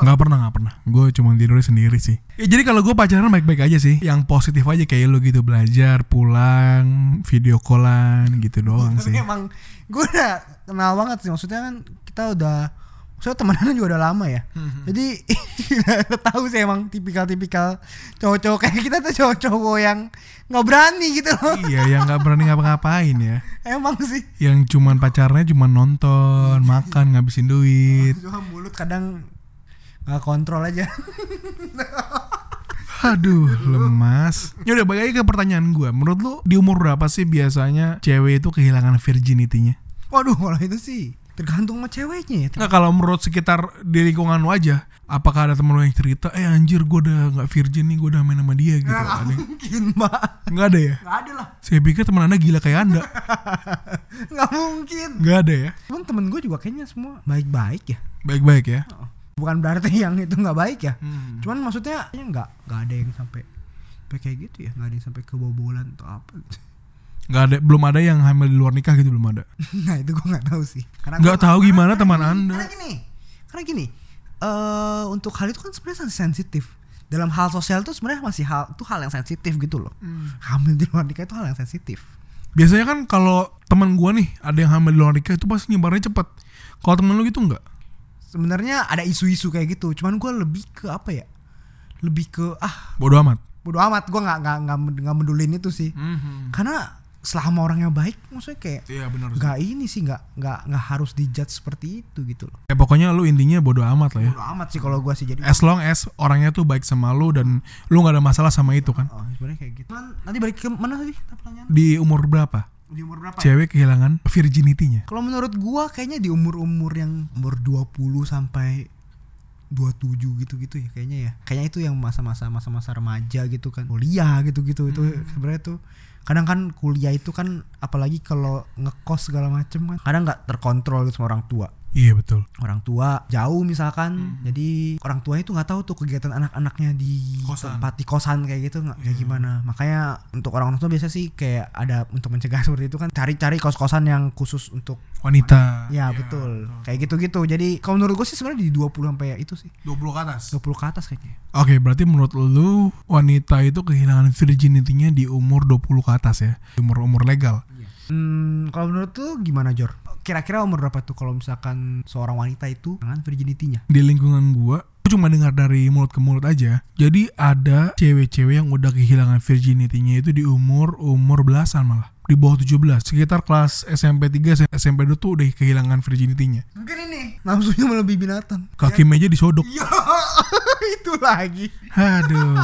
Speaker 2: Nggak pernah, nggak pernah. Gue cuma tidur sendiri sih. Ya, jadi kalau gue pacaran baik-baik aja sih. Yang positif aja kayak lo gitu belajar, pulang, video callan gitu doang
Speaker 1: Tapi
Speaker 2: sih.
Speaker 1: emang gue udah kenal banget sih maksudnya kan kita udah maksudnya temenan juga udah lama ya. Jadi udah tahu sih emang tipikal-tipikal cowok-cowok kayak kita tuh cowok-cowok yang nggak berani gitu loh.
Speaker 2: iya, yang nggak berani ngapa-ngapain ya.
Speaker 1: emang sih.
Speaker 2: Yang cuman pacarnya cuman nonton, makan, ngabisin duit.
Speaker 1: Cuma mulut kadang nggak kontrol aja.
Speaker 2: Aduh, lemas. Ya udah balik lagi ke pertanyaan gue. Menurut lo di umur berapa sih biasanya cewek itu kehilangan virginity-nya?
Speaker 1: Waduh, kalau itu sih tergantung sama ceweknya ya.
Speaker 2: Nggak Nah, kalau menurut sekitar di lingkungan lu aja Apakah ada temen lu yang cerita Eh anjir gue udah gak virgin nih Gue udah main sama dia gitu
Speaker 1: Nggak
Speaker 2: Ada yang-
Speaker 1: mungkin, Mbak.
Speaker 2: Nggak ada ya
Speaker 1: Nggak ada lah.
Speaker 2: Saya pikir temen anda gila kayak anda
Speaker 1: Nggak mungkin.
Speaker 2: Nggak ada ya
Speaker 1: Cuman temen gue juga kayaknya semua baik-baik ya.
Speaker 2: Baik-baik ya Hmm.
Speaker 1: Bukan berarti yang itu nggak baik ya. Cuman maksudnya kayaknya nggak nggak ada yang sampai sampai kayak gitu ya. Nggak ada yang sampai kebobolan atau apa. gitu.
Speaker 2: Nggak ada Belum ada yang hamil di luar nikah gitu belum ada
Speaker 1: nah itu gue nggak tahu sih. Karena
Speaker 2: Nggak
Speaker 1: gua-
Speaker 2: tahu gimana teman anda
Speaker 1: Karena gini, karena gini. eh untuk hal itu kan sebenarnya sensitif. Dalam hal sosial itu sebenarnya masih hal itu hal yang sensitif gitu loh. Hamil di luar nikah itu hal yang sensitif.
Speaker 2: Biasanya kan kalau teman gue nih Ada yang hamil di luar nikah itu pasti nyebarnya cepet Kalau temen lu gitu nggak
Speaker 1: sebenarnya ada isu-isu kayak gitu cuman gue lebih ke apa ya lebih ke ah
Speaker 2: Bodoh amat
Speaker 1: bodo amat gue nggak nggak nggak men- nggak mendulin itu sih karena selama orangnya baik maksudnya kayak
Speaker 2: Hmm. Iya benar sih.
Speaker 1: Hmm. nggak ini sih nggak nggak nggak harus dijudge seperti itu gitu loh
Speaker 2: Ya pokoknya lu intinya bodoh amat lah ya
Speaker 1: bodo amat sih kalau gue sih jadi
Speaker 2: As long as orangnya tuh baik sama lu Dan lu nggak ada masalah sama itu kan
Speaker 1: oh sebenarnya kayak gitu Cuman nanti balik ke mana tadi pertanyaan
Speaker 2: Di umur berapa
Speaker 1: di umur berapa ya?
Speaker 2: cewek kehilangan virginity-nya.
Speaker 1: kalau menurut gue kayaknya di umur-umur yang umur 20 sampai 27 gitu-gitu ya kayaknya ya kayaknya itu yang masa-masa masa-masa remaja gitu kan kuliah gitu-gitu itu sebenarnya tuh kadang kan kuliah itu kan apalagi kalau ngekos segala macem kan kadang nggak terkontrol gitu sama orang tua
Speaker 2: Iya betul.
Speaker 1: orang tua jauh misalkan jadi orang tua itu nggak tahu tuh kegiatan anak-anaknya di
Speaker 2: Kosan.
Speaker 1: tempat di kosan kayak gitu nggak kayak gimana makanya untuk orang-orang tua biasa sih kayak ada untuk mencegah seperti itu kan cari-cari kos-kosan yang khusus untuk
Speaker 2: Wanita.
Speaker 1: ya betul kayak gitu-gitu jadi kalau menurut gue sih sebenarnya di 20 sampai ya itu sih
Speaker 2: 20 ke atas.
Speaker 1: 20 ke atas kayaknya
Speaker 2: Oke, berarti menurut lu wanita itu kehilangan virginity-nya di umur 20 ke atas ya. Umur-umur legal.
Speaker 1: hmm, kalau menurut tuh gimana Jor kira-kira umur berapa tuh kalau misalkan seorang wanita itu dengan virginity-nya
Speaker 2: Di lingkungan gua gua cuma dengar dari mulut ke mulut aja. Jadi ada cewek-cewek yang udah kehilangan virginity-nya itu di umur umur belasan malah di bawah 17 sekitar kelas SMP 3 SMP 2 tuh udah kehilangan virginity-nya
Speaker 1: mungkin ini nafsunya melebihi binatang
Speaker 2: kaki meja disodok
Speaker 1: ya itu lagi
Speaker 2: aduh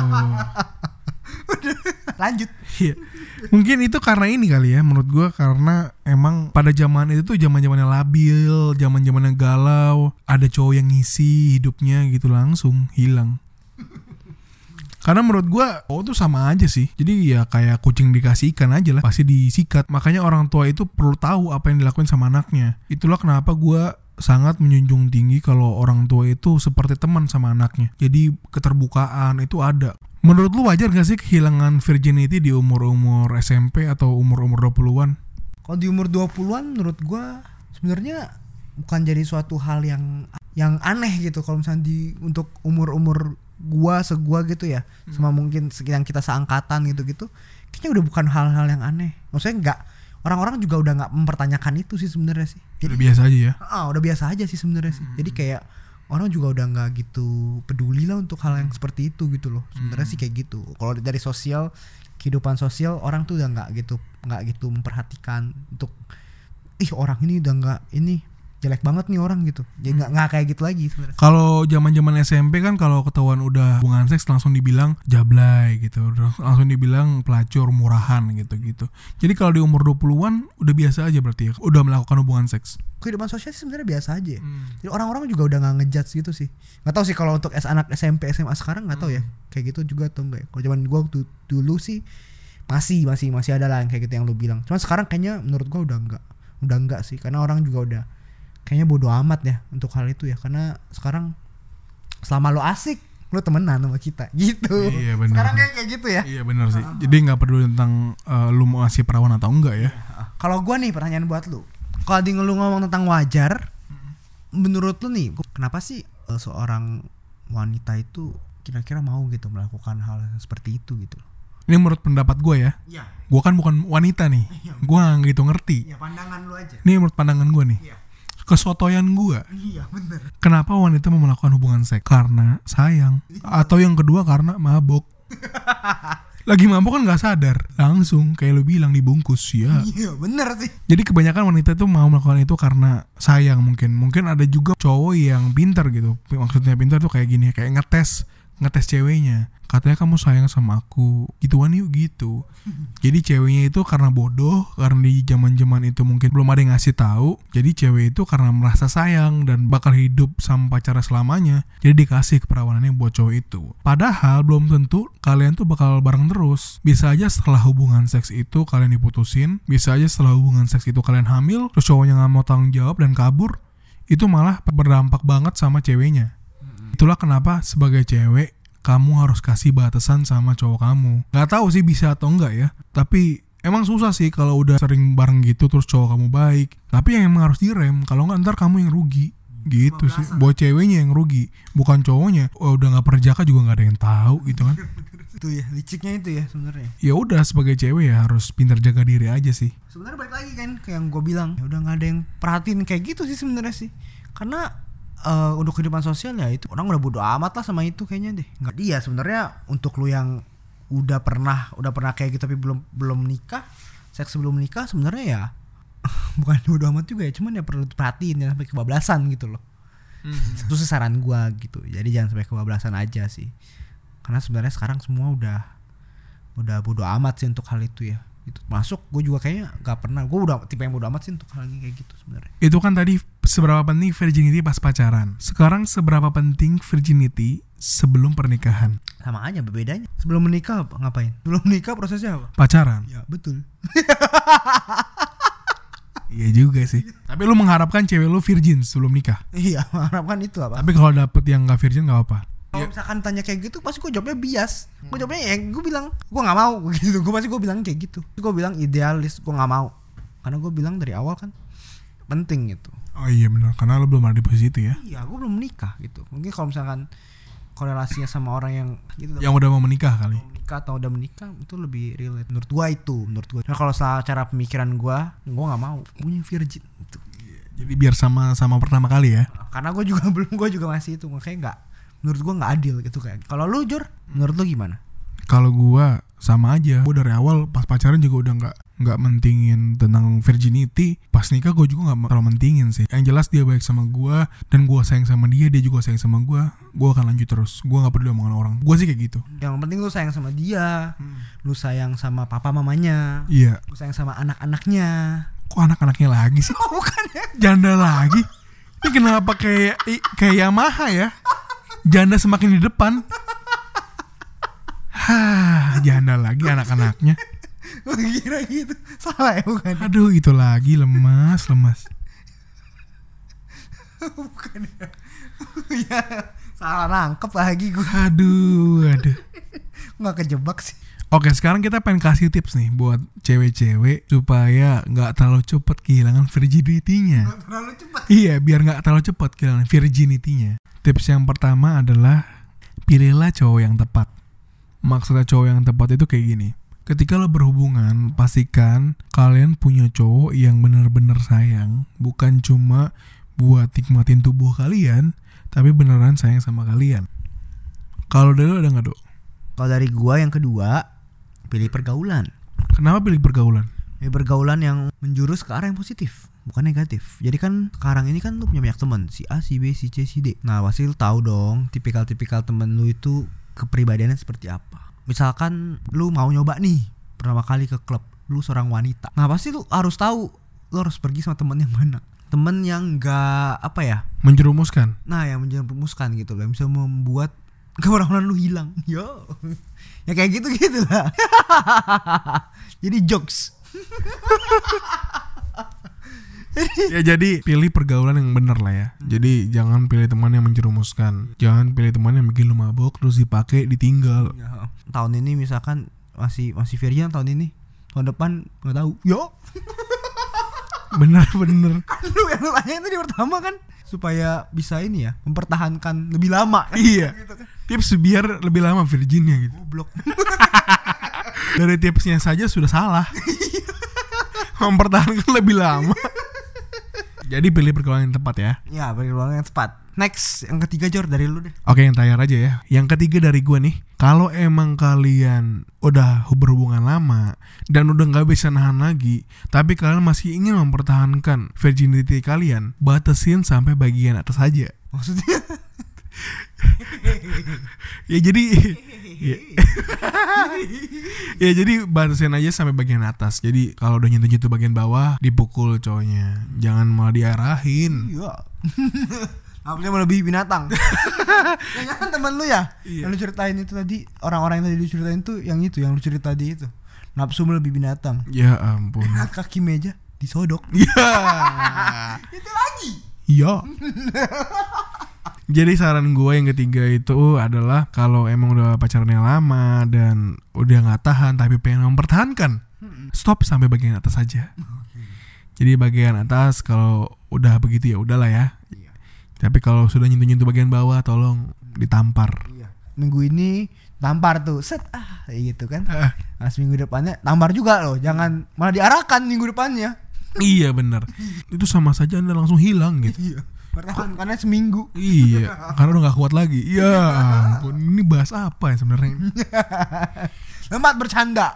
Speaker 1: lanjut
Speaker 2: Iya. Mungkin itu karena ini kali ya menurut gua karena emang pada zaman itu tuh zaman-zamannya labil, zaman-zamannya galau, ada cowok yang ngisi hidupnya gitu langsung hilang. Karena menurut gua cowok tuh sama aja sih. Jadi ya kayak kucing dikasih ikan aja lah, pasti disikat. Makanya orang tua itu perlu tahu apa yang dilakuin sama anaknya. Itulah kenapa gua sangat menjunjung tinggi kalau orang tua itu seperti teman sama anaknya. Jadi keterbukaan itu ada. Menurut lu wajar gak sih kehilangan virginity di umur-umur SMP atau umur-umur 20-an?
Speaker 1: Kalau di umur 20-an menurut gua sebenarnya bukan jadi suatu hal yang yang aneh gitu kalau misalnya di untuk umur-umur gua segua gitu ya sama mungkin se- yang kita seangkatan gitu-gitu kayaknya udah bukan hal-hal yang aneh maksudnya nggak orang-orang juga udah nggak mempertanyakan itu sih sebenarnya sih jadi
Speaker 2: Udah biasa aja ya.
Speaker 1: ah udah biasa aja sih sebenarnya sih jadi kayak orang juga udah nggak gitu peduli lah untuk hal yang seperti itu gitu loh sebenarnya sih kayak gitu kalau dari sosial kehidupan sosial orang tuh udah nggak gitu nggak gitu memperhatikan untuk ih orang ini udah nggak ini jelek banget nih orang gitu jadi nggak nggak kayak gitu lagi sebenarnya
Speaker 2: Kalau zaman-zaman SMP kan kalau ketahuan udah hubungan seks langsung dibilang jablay gitu, langsung dibilang pelacur, murahan gitu-gitu. Jadi kalau di umur 20-an udah biasa aja berarti ya, udah melakukan hubungan seks. Hmm.
Speaker 1: kehidupan sosial sih sebenarnya biasa aja ya. jadi orang-orang juga udah nggak ngejudge gitu sih nggak tahu sih kalau untuk S anak SMP SMA sekarang nggak tahu ya
Speaker 2: Hmm.
Speaker 1: kayak gitu juga atau enggak ya. kalau zaman gua waktu dulu sih masih masih masih ada lah yang kayak gitu yang lu bilang cuman sekarang kayaknya menurut gua udah enggak udah enggak sih karena orang juga udah kayaknya bodoh amat ya untuk hal itu ya karena sekarang selama lo asik lo temenan sama kita gitu
Speaker 2: Iya, benar.
Speaker 1: sekarang kayak kayak gitu ya
Speaker 2: Iya benar sih. Jadi nggak peduli tentang eh, lu mau ngasih perawan atau enggak ya.
Speaker 1: Kalau gua nih pertanyaan buat lu. Kalau tadi lu ngomong tentang wajar, menurut lu nih, kenapa sih eh, seorang wanita itu kira-kira mau gitu melakukan hal yang seperti itu gitu?
Speaker 2: Ini menurut pendapat gue ya.
Speaker 1: Iya,
Speaker 2: Gue kan bukan wanita nih. Gue nggak gitu ngerti.
Speaker 1: ya pandangan lu aja.
Speaker 2: Ini menurut pandangan gue nih.
Speaker 1: Iya.
Speaker 2: Kesotoyan gue.
Speaker 1: Iya, bener.
Speaker 2: Kenapa wanita mau melakukan hubungan seks? Karena sayang. Atau yang kedua karena mabok. Lagi mabok kan nggak sadar. Langsung kayak lu bilang dibungkus ya.
Speaker 1: Iya, bener sih.
Speaker 2: Jadi kebanyakan wanita itu mau melakukan itu karena sayang mungkin. Mungkin ada juga cowok yang pintar gitu. Maksudnya pintar tuh kayak gini, ya. kayak ngetes, ngetes ceweknya. Katanya kamu sayang sama aku. Gituan yuk gitu. Jadi ceweknya itu karena bodoh, karena di zaman-zaman itu mungkin belum ada yang ngasih tahu. Jadi cewek itu karena merasa sayang dan bakal hidup sama pacarnya selamanya. Jadi dikasih keperawanannya buat cowok itu. Padahal belum tentu kalian tuh bakal bareng terus. Bisa aja setelah hubungan seks itu kalian diputusin, bisa aja setelah hubungan seks itu kalian hamil, terus cowoknya nggak mau tanggung jawab dan kabur, itu malah berdampak banget sama ceweknya. Itulah kenapa sebagai cewek kamu harus kasih batasan sama cowok kamu. Gak tahu sih bisa atau enggak ya, tapi emang susah sih kalau udah sering bareng gitu terus cowok kamu baik. Tapi yang emang harus direm, kalau enggak ntar kamu yang rugi. Gitu sih, buat ceweknya yang rugi, bukan cowoknya. Wah, udah nggak perjaka juga nggak ada yang tahu gitu kan.
Speaker 1: Itu ya, liciknya itu ya sebenarnya.
Speaker 2: Ya udah sebagai cewek ya harus pintar jaga diri aja sih.
Speaker 1: Sebenarnya balik lagi kan ke yang gue bilang, ya udah nggak ada yang perhatiin kayak gitu sih sebenarnya sih. Karena eh, untuk kehidupan sosial ya itu orang udah bodo amat lah sama itu kayaknya deh. Nggak dia sebenarnya untuk lu yang udah pernah udah pernah kayak gitu tapi belum belum nikah, seks sebelum nikah sebenarnya ya bukan bodo amat juga ya, cuman ya perlu perhatiin jangan sampai kebablasan gitu loh. Itu sih saran gua gitu. Jadi jangan sampai kebablasan aja sih. Karena sebenarnya sekarang semua udah udah bodo amat sih untuk hal itu ya gitu masuk gue juga kayaknya nggak pernah gue udah tipe yang bodo amat sih untuk hal ini kayak gitu sebenarnya
Speaker 2: Itu kan tadi seberapa penting virginity pas pacaran. Sekarang seberapa penting virginity sebelum pernikahan?
Speaker 1: sama aja bedanya sebelum menikah apa? ngapain sebelum menikah prosesnya apa
Speaker 2: Pacaran.
Speaker 1: ya betul
Speaker 2: Iya juga sih. Tapi lu mengharapkan cewek lu virgin sebelum nikah.
Speaker 1: iya mengharapkan itu apa Ya.
Speaker 2: Tapi kalau dapet yang gak virgin gak apa.
Speaker 1: kalau misalkan tanya kayak gitu pasti gue jawabnya bias gue jawabnya ya gue bilang gue nggak mau gitu gue pasti gue bilang kayak gitu gue bilang idealis gue nggak mau karena gue bilang dari awal kan penting gitu
Speaker 2: Oh iya benar, karena lu belum ada di posisi itu ya.
Speaker 1: iya gue belum menikah gitu mungkin kalau misalkan korelasinya sama orang yang gitu
Speaker 2: Yang udah mau menikah kali.
Speaker 1: menikah atau udah menikah itu lebih relate menurut gua itu menurut gua nah, kalau salah cara pemikiran gua gua nggak mau punya virgin itu
Speaker 2: Jadi biar sama-sama pertama kali ya.
Speaker 1: karena gua juga belum gua juga masih itu makanya nggak menurut gua nggak adil gitu kayak kalau lu jur menurut lu gimana
Speaker 2: Kalau gua sama aja. Gua dari awal pas pacaran juga udah nggak nggak mentingin tentang virginity. Pas nikah gua juga nggak terlalu mentingin sih. Yang jelas dia baik sama gua dan gua sayang sama dia, dia juga sayang sama gua. Gua akan lanjut terus. Gua nggak peduli omongan orang. Gua sih kayak gitu.
Speaker 1: yang penting lu sayang sama dia lu sayang sama papa mamanya
Speaker 2: Iya.
Speaker 1: lu sayang sama anak-anaknya
Speaker 2: Kok anak-anaknya lagi sih?
Speaker 1: oh bukan ya
Speaker 2: janda lagi. Ini kenapa kayak i- kayak Yamaha ya? Janda semakin di depan. Hah, janda lagi anak-anaknya.
Speaker 1: Gua kira gitu salah ya bukan
Speaker 2: Aduh, itu lagi lemas, lemas.
Speaker 1: bukan ya. ya salah nangkep lagi gue
Speaker 2: Aduh, aduh.
Speaker 1: nggak kejebak sih
Speaker 2: Oke, sekarang kita pengen kasih tips nih buat cewek-cewek supaya nggak terlalu cepet kehilangan virginity-nya.
Speaker 1: terlalu cepat
Speaker 2: Iya, biar nggak terlalu cepet kehilangan virginity-nya. Tips yang pertama adalah pilihlah cowok yang tepat. Maksudnya cowok yang tepat itu kayak gini. Ketika lo berhubungan, pastikan kalian punya cowok yang bener-bener sayang. Bukan cuma buat nikmatin tubuh kalian, tapi beneran sayang sama kalian. Kalau dari lo ada nggak, Dok?
Speaker 1: kalau dari gua yang kedua pilih pergaulan
Speaker 2: Kenapa pilih pergaulan?
Speaker 1: Ya, pergaulan yang menjurus ke arah yang positif bukan negatif jadi kan sekarang ini kan lu punya banyak teman si A si B si C si D nah pasti lu tahu dong tipikal-tipikal temen lu itu kepribadiannya seperti apa misalkan lu mau nyoba nih pertama kali ke klub lu seorang wanita nah pasti lu harus tahu lu harus pergi sama temen yang mana temen yang gak apa ya
Speaker 2: Menjerumuskan.
Speaker 1: nah yang menjerumuskan gitu loh yang bisa membuat keberanian lu hilang yo ya kayak gitu gitu lah jadi jokes
Speaker 2: ya jadi pilih pergaulan yang bener lah ya. Jadi jangan pilih teman yang menjerumuskan. Jangan pilih teman yang bikin lu mabok terus dipakai ditinggal.
Speaker 1: Ya, tahun ini misalkan masih masih virgin tahun ini tahun depan nggak tahu yo
Speaker 2: Bener bener.
Speaker 1: lu yang lu tanya itu di pertama kan supaya bisa ini ya mempertahankan lebih lama
Speaker 2: iya. Tips biar lebih lama virginnya gitu.
Speaker 1: goblok
Speaker 2: Dari tipsnya saja sudah salah. Mempertahankan lebih lama. jadi pilih pergaulan yang tepat ya.
Speaker 1: ya beri ruang yang tepat next yang ketiga Jor dari lu deh
Speaker 2: Oke yang tayar aja ya Yang ketiga dari gue nih Kalau emang kalian udah berhubungan lama Dan udah nggak bisa nahan lagi Tapi kalian masih ingin mempertahankan virginity kalian Batasin sampai bagian atas aja
Speaker 1: maksudnya
Speaker 2: Ya jadi ya, ya jadi batasin aja sampai bagian atas Jadi kalau udah nyentuh-nyentuh bagian bawah Dipukul cowoknya Jangan malah diarahin
Speaker 1: iya Maksudnya melebihi binatang Ya kan temen lu ya
Speaker 2: Iya.
Speaker 1: Yang lu ceritain itu tadi Orang-orang yang tadi lu ceritain tuh Yang itu Yang lu cerita tadi itu Nafsu melebihi binatang
Speaker 2: Ya ampun
Speaker 1: Iya. Kaki meja Disodok
Speaker 2: Ya
Speaker 1: Itu lagi
Speaker 2: Iya. Jadi saran gue yang ketiga itu adalah kalau emang udah pacarnya lama dan udah nggak tahan tapi pengen mempertahankan, stop sampai bagian atas aja. Jadi bagian atas kalau udah begitu ya udahlah ya.
Speaker 1: Iya.
Speaker 2: Tapi kalau sudah nyentuh-nyentuh bagian bawah tolong ditampar.
Speaker 1: Iya. Minggu ini tampar tuh set ah kayak gitu kan.
Speaker 2: Ah,
Speaker 1: Nah, minggu depannya tampar juga loh. Jangan malah diarahkan minggu depannya.
Speaker 2: iya bener. Itu sama saja anda langsung hilang gitu.
Speaker 1: Iya. Bertahan karena seminggu.
Speaker 2: Iya, karena udah gak kuat lagi. Ya ampun, ini bahas apa ya sebenarnya? ini?
Speaker 1: Lembat bercanda.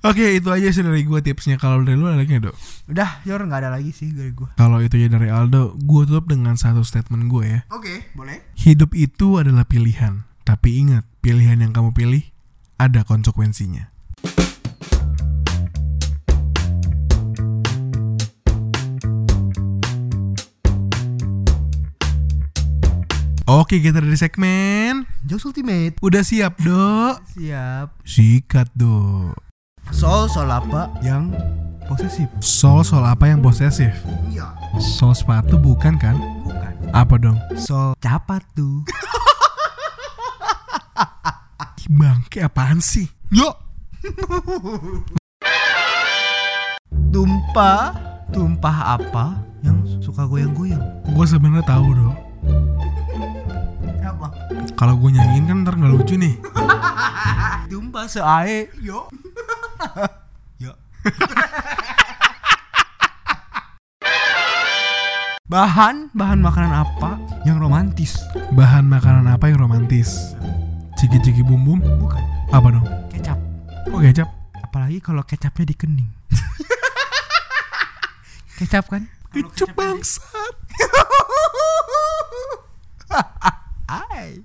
Speaker 2: Oke, itu aja sih dari gue tipsnya. Kalau dari lu ada lagi nggak, Dok?
Speaker 1: Udah, Yor nggak ada lagi sih dari gua.
Speaker 2: Kalau itu ya dari Aldo, gue tutup dengan satu statement gue ya.
Speaker 1: Oke, boleh.
Speaker 2: Hidup itu adalah pilihan, tapi ingat, pilihan yang kamu pilih ada konsekuensinya. Oke, kita dari segmen.
Speaker 1: Jokes Ultimate.
Speaker 2: Udah siap, Dok?
Speaker 1: Siap.
Speaker 2: Sikat, Dok.
Speaker 1: Sol sol apa yang posesif?
Speaker 2: Sol-sol apa yang posesif?
Speaker 1: Iya,
Speaker 2: Sol sepatu bukan kan?
Speaker 1: bukan.
Speaker 2: Apa dong?
Speaker 1: Sol capat tuh.
Speaker 2: Bangke apaan sih? Yo,
Speaker 1: Tumpah, tumpah apa yang suka goyang-goyang?
Speaker 2: gue sebenarnya tahu dong.
Speaker 1: Apa?
Speaker 2: Kalau gue nyanyiin kan ntar nggak lucu nih.
Speaker 1: Tumpah seae yo. yo. bahan bahan makanan apa yang romantis?
Speaker 2: Bahan makanan apa yang romantis? Ciki-ciki bum bum?
Speaker 1: Bukan
Speaker 2: Apa dong?
Speaker 1: kecap.
Speaker 2: Oh kecap?
Speaker 1: Apalagi kalau kecapnya dikening. kecap kan?
Speaker 2: Lucu bangsat.
Speaker 1: Hai.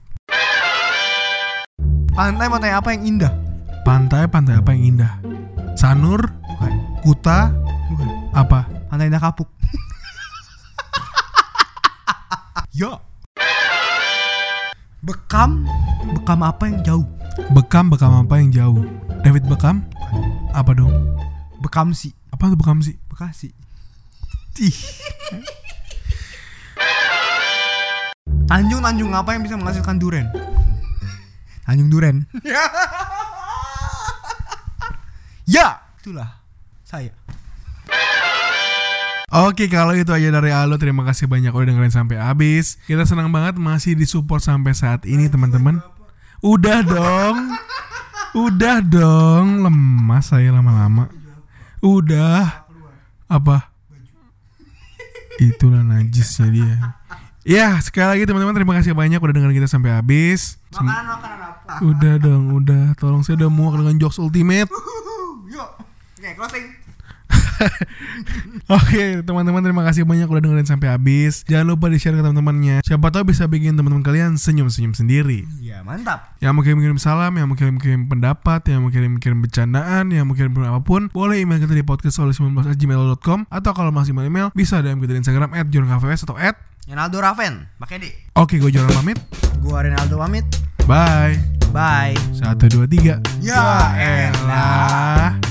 Speaker 1: Pantai mau tanya apa yang indah?
Speaker 2: Pantai pantai apa yang indah? Sanur?
Speaker 1: Bukan,
Speaker 2: Kuta?
Speaker 1: bukan.
Speaker 2: Apa?
Speaker 1: Pantai indah kapuk.
Speaker 2: Yo.
Speaker 1: Bekam, bekam apa yang jauh?
Speaker 2: Bekam bekam apa yang jauh? David Bekam? Apa dong?
Speaker 1: Bekam sih,
Speaker 2: Apa tuh Bekam sih?
Speaker 1: Bekasi.
Speaker 2: Ih,
Speaker 1: Tanjung-tanjung apa yang bisa menghasilkan duren? Tanjung duren. ya, itulah saya.
Speaker 2: Oke kalau itu aja dari Aldo Terima kasih banyak udah dengerin sampai habis Kita senang banget masih disupport sampai saat ini teman-teman Udah dong Udah dong Lemas saya lama-lama Udah Apa? Itulah najisnya dia Ya sekali lagi teman-teman terima kasih banyak udah dengerin kita sampai habis Sem-
Speaker 1: Makanan-makanan apa?
Speaker 2: Udah dong udah Tolong saya udah muak dengan jokes ultimate
Speaker 1: Yuk. Oke, closing.
Speaker 2: Oke teman-teman terima kasih banyak udah dengerin sampai habis Jangan lupa di share ke teman-temannya Siapa tahu bisa bikin teman-teman kalian senyum-senyum sendiri
Speaker 1: Ya, mantap.
Speaker 2: Yang mau kirim-kirim salam, yang mau kirim-kirim pendapat, yang mau kirim-kirim bercandaan, yang mau kirim-kirim apapun Boleh email kita di podcast19.gmail.com Atau kalau masih mau email bisa DM kita di Instagram at jurnalkvs atau at
Speaker 1: Ronaldo Raven, pakai D.
Speaker 2: Oke gue Joran pamit
Speaker 1: Gua Ronaldo pamit.
Speaker 2: Bye
Speaker 1: Bye.
Speaker 2: 1, 2, 3
Speaker 1: Ya elah.
Speaker 2: elah